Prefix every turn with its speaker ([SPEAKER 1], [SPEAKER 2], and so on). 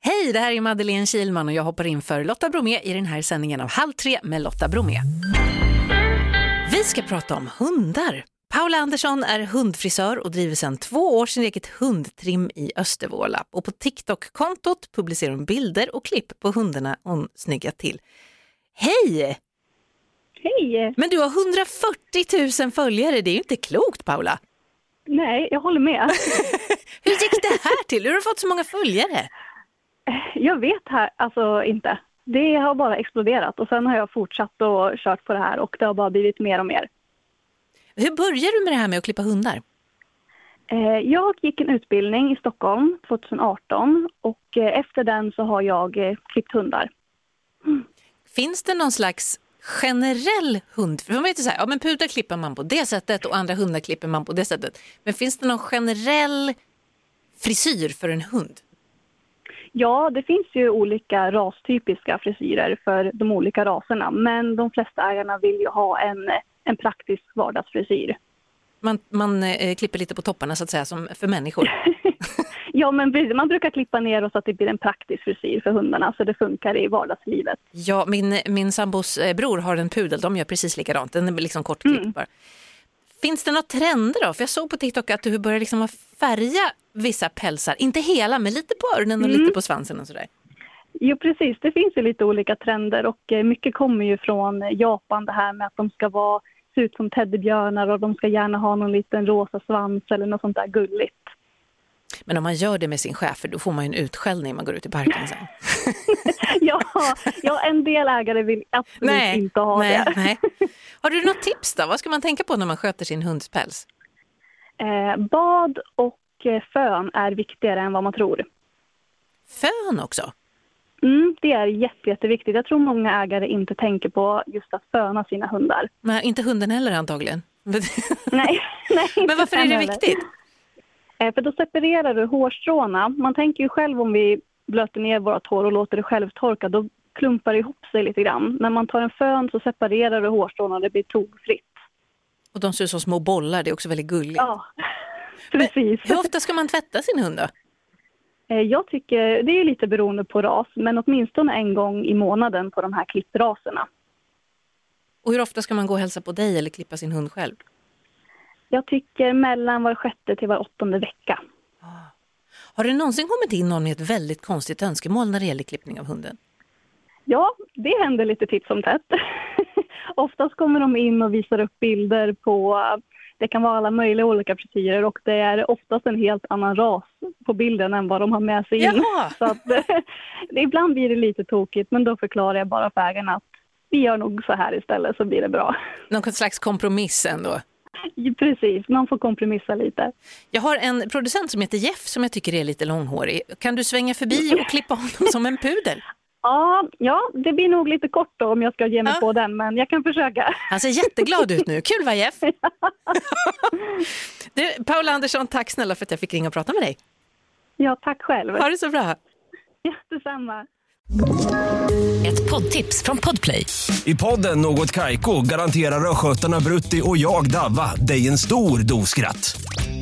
[SPEAKER 1] Hej, det här är Madeleine Kilman och jag hoppar in för Lotta Bromé i den här sändningen av Halv tre med Lotta Bromé. Vi ska prata om hundar. Paula Andersson är hundfrisör och driver sedan två år sin eget hundtrim i Östervåla. Och på TikTok-kontot publicerar hon bilder och klipp på hundarna hon snyggat till. Hej!
[SPEAKER 2] Hej!
[SPEAKER 1] Men du har 140 000 följare, det är ju inte klokt Paula.
[SPEAKER 2] Nej, jag håller med.
[SPEAKER 1] Hur gick det här till? Hur har du fått så många följare?
[SPEAKER 2] Jag vet här, alltså inte. Det har bara exploderat och sen har jag fortsatt och kört på det här och det har bara blivit mer och mer.
[SPEAKER 1] Hur började du med det här med att klippa hundar?
[SPEAKER 2] Eh, Jag gick en utbildning i Stockholm 2018 och eh, efter den så har jag eh, klippt hundar.
[SPEAKER 1] Finns det någon slags generell hund? För man vet ju så här, ja men pudlar klipper man på det sättet och andra hundar klipper man på det sättet. Men finns det någon generell frisyr för en hund?
[SPEAKER 2] Ja, det finns ju olika rastypiska frisyrer för de olika raserna men de flesta ägarna vill ju ha en, en praktisk vardagsfrisyr.
[SPEAKER 1] Man, man eh, klipper lite på topparna så att säga, som för människor.
[SPEAKER 2] Ja, men precis. man brukar klippa ner och så att det blir en praktisk frisyr för hundarna så det funkar i vardagslivet.
[SPEAKER 1] Ja, min, min sambos eh, bror har en pudel, de gör precis likadant, den är liksom kortklippt bara. Finns det några trender då? För jag såg på TikTok att du börjar liksom att färga vissa pälsar, inte hela men lite på öronen och lite på svansen och sådär.
[SPEAKER 2] Jo, precis. Det finns ju lite olika trender och eh, mycket kommer ju från eh, Japan det här med att de ska vara, se ut som teddybjörnar och de ska gärna ha någon liten rosa svans eller något sånt där gulligt.
[SPEAKER 1] Men om man gör det med sin chef, för då får man ju en utskällning om man går ut i parken sen.
[SPEAKER 2] ja, ja, en del ägare vill absolut inte ha
[SPEAKER 1] nej,
[SPEAKER 2] det.
[SPEAKER 1] nej. Har du något tips då? Vad ska man tänka på när man sköter sin hundspäls?
[SPEAKER 2] Eh, bad och eh, fön är viktigare än vad man tror.
[SPEAKER 1] Fön också?
[SPEAKER 2] Mm, det är jätte, jätteviktigt. Jag tror många ägare inte tänker på just att föna sina hundar.
[SPEAKER 1] Men inte hunden heller antagligen. Men
[SPEAKER 2] Nej, nej inte
[SPEAKER 1] men varför är
[SPEAKER 2] fön
[SPEAKER 1] det
[SPEAKER 2] heller.
[SPEAKER 1] viktigt?
[SPEAKER 2] Eh, För då separerar du hårstråna. Man tänker ju själv om vi blöter ner vårt hår och låter det självtorka, då klumpar det ihop sig lite grann. När man tar en fön så separerar du hårstråna och det blir togfritt.
[SPEAKER 1] Och de ser ut som små bollar, det är också väldigt gulligt.
[SPEAKER 2] Ja, precis.
[SPEAKER 1] Hur ofta ska man tvätta sin hund då?
[SPEAKER 2] Eh, Jag tycker, det är ju lite beroende på ras, men åtminstone en gång i månaden på de här klippraserna.
[SPEAKER 1] Och hur ofta ska man gå och hälsa på dig eller klippa sin hund själv?
[SPEAKER 2] Jag tycker mellan var sjätte till var åttonde vecka.
[SPEAKER 1] Har det någonsin kommit in någon med ett väldigt konstigt önskemål när det gäller klippning av hunden?
[SPEAKER 2] Ja, det händer lite titt som tätt. Oftast kommer de in och visar upp bilder på, det kan vara alla möjliga olika frisyrer och det är oftast en helt annan ras på bilden än vad de har med sig in.
[SPEAKER 1] Jaha!
[SPEAKER 2] Så att, det, ibland blir det lite tokigt men då förklarar jag bara för ägarna att vi gör nog så här istället så blir det bra.
[SPEAKER 1] Någon slags kompromiss ändå?
[SPEAKER 2] Precis, man får kompromissa lite.
[SPEAKER 1] Jag har en producent som heter Jeff som jag tycker är lite långhårig. Kan du svänga förbi och klippa honom som en pudel?
[SPEAKER 2] Ja, ja, det blir nog lite kort då om jag ska ge mig
[SPEAKER 1] Ja.
[SPEAKER 2] på den men jag kan försöka.
[SPEAKER 1] Han ser jätteglad ut nu. Kul va Jeff? Du, Paula Andersson, tack snälla för att jag fick ringa och prata med dig.
[SPEAKER 2] Ja, tack själv.
[SPEAKER 1] Ha det så bra.
[SPEAKER 2] Ja, detsamma.
[SPEAKER 3] Ett poddtips från Podplay.
[SPEAKER 4] I podden Något Kaiko garanterar östgötarna Brutti och jag, Davva, dig en stor dos skratt.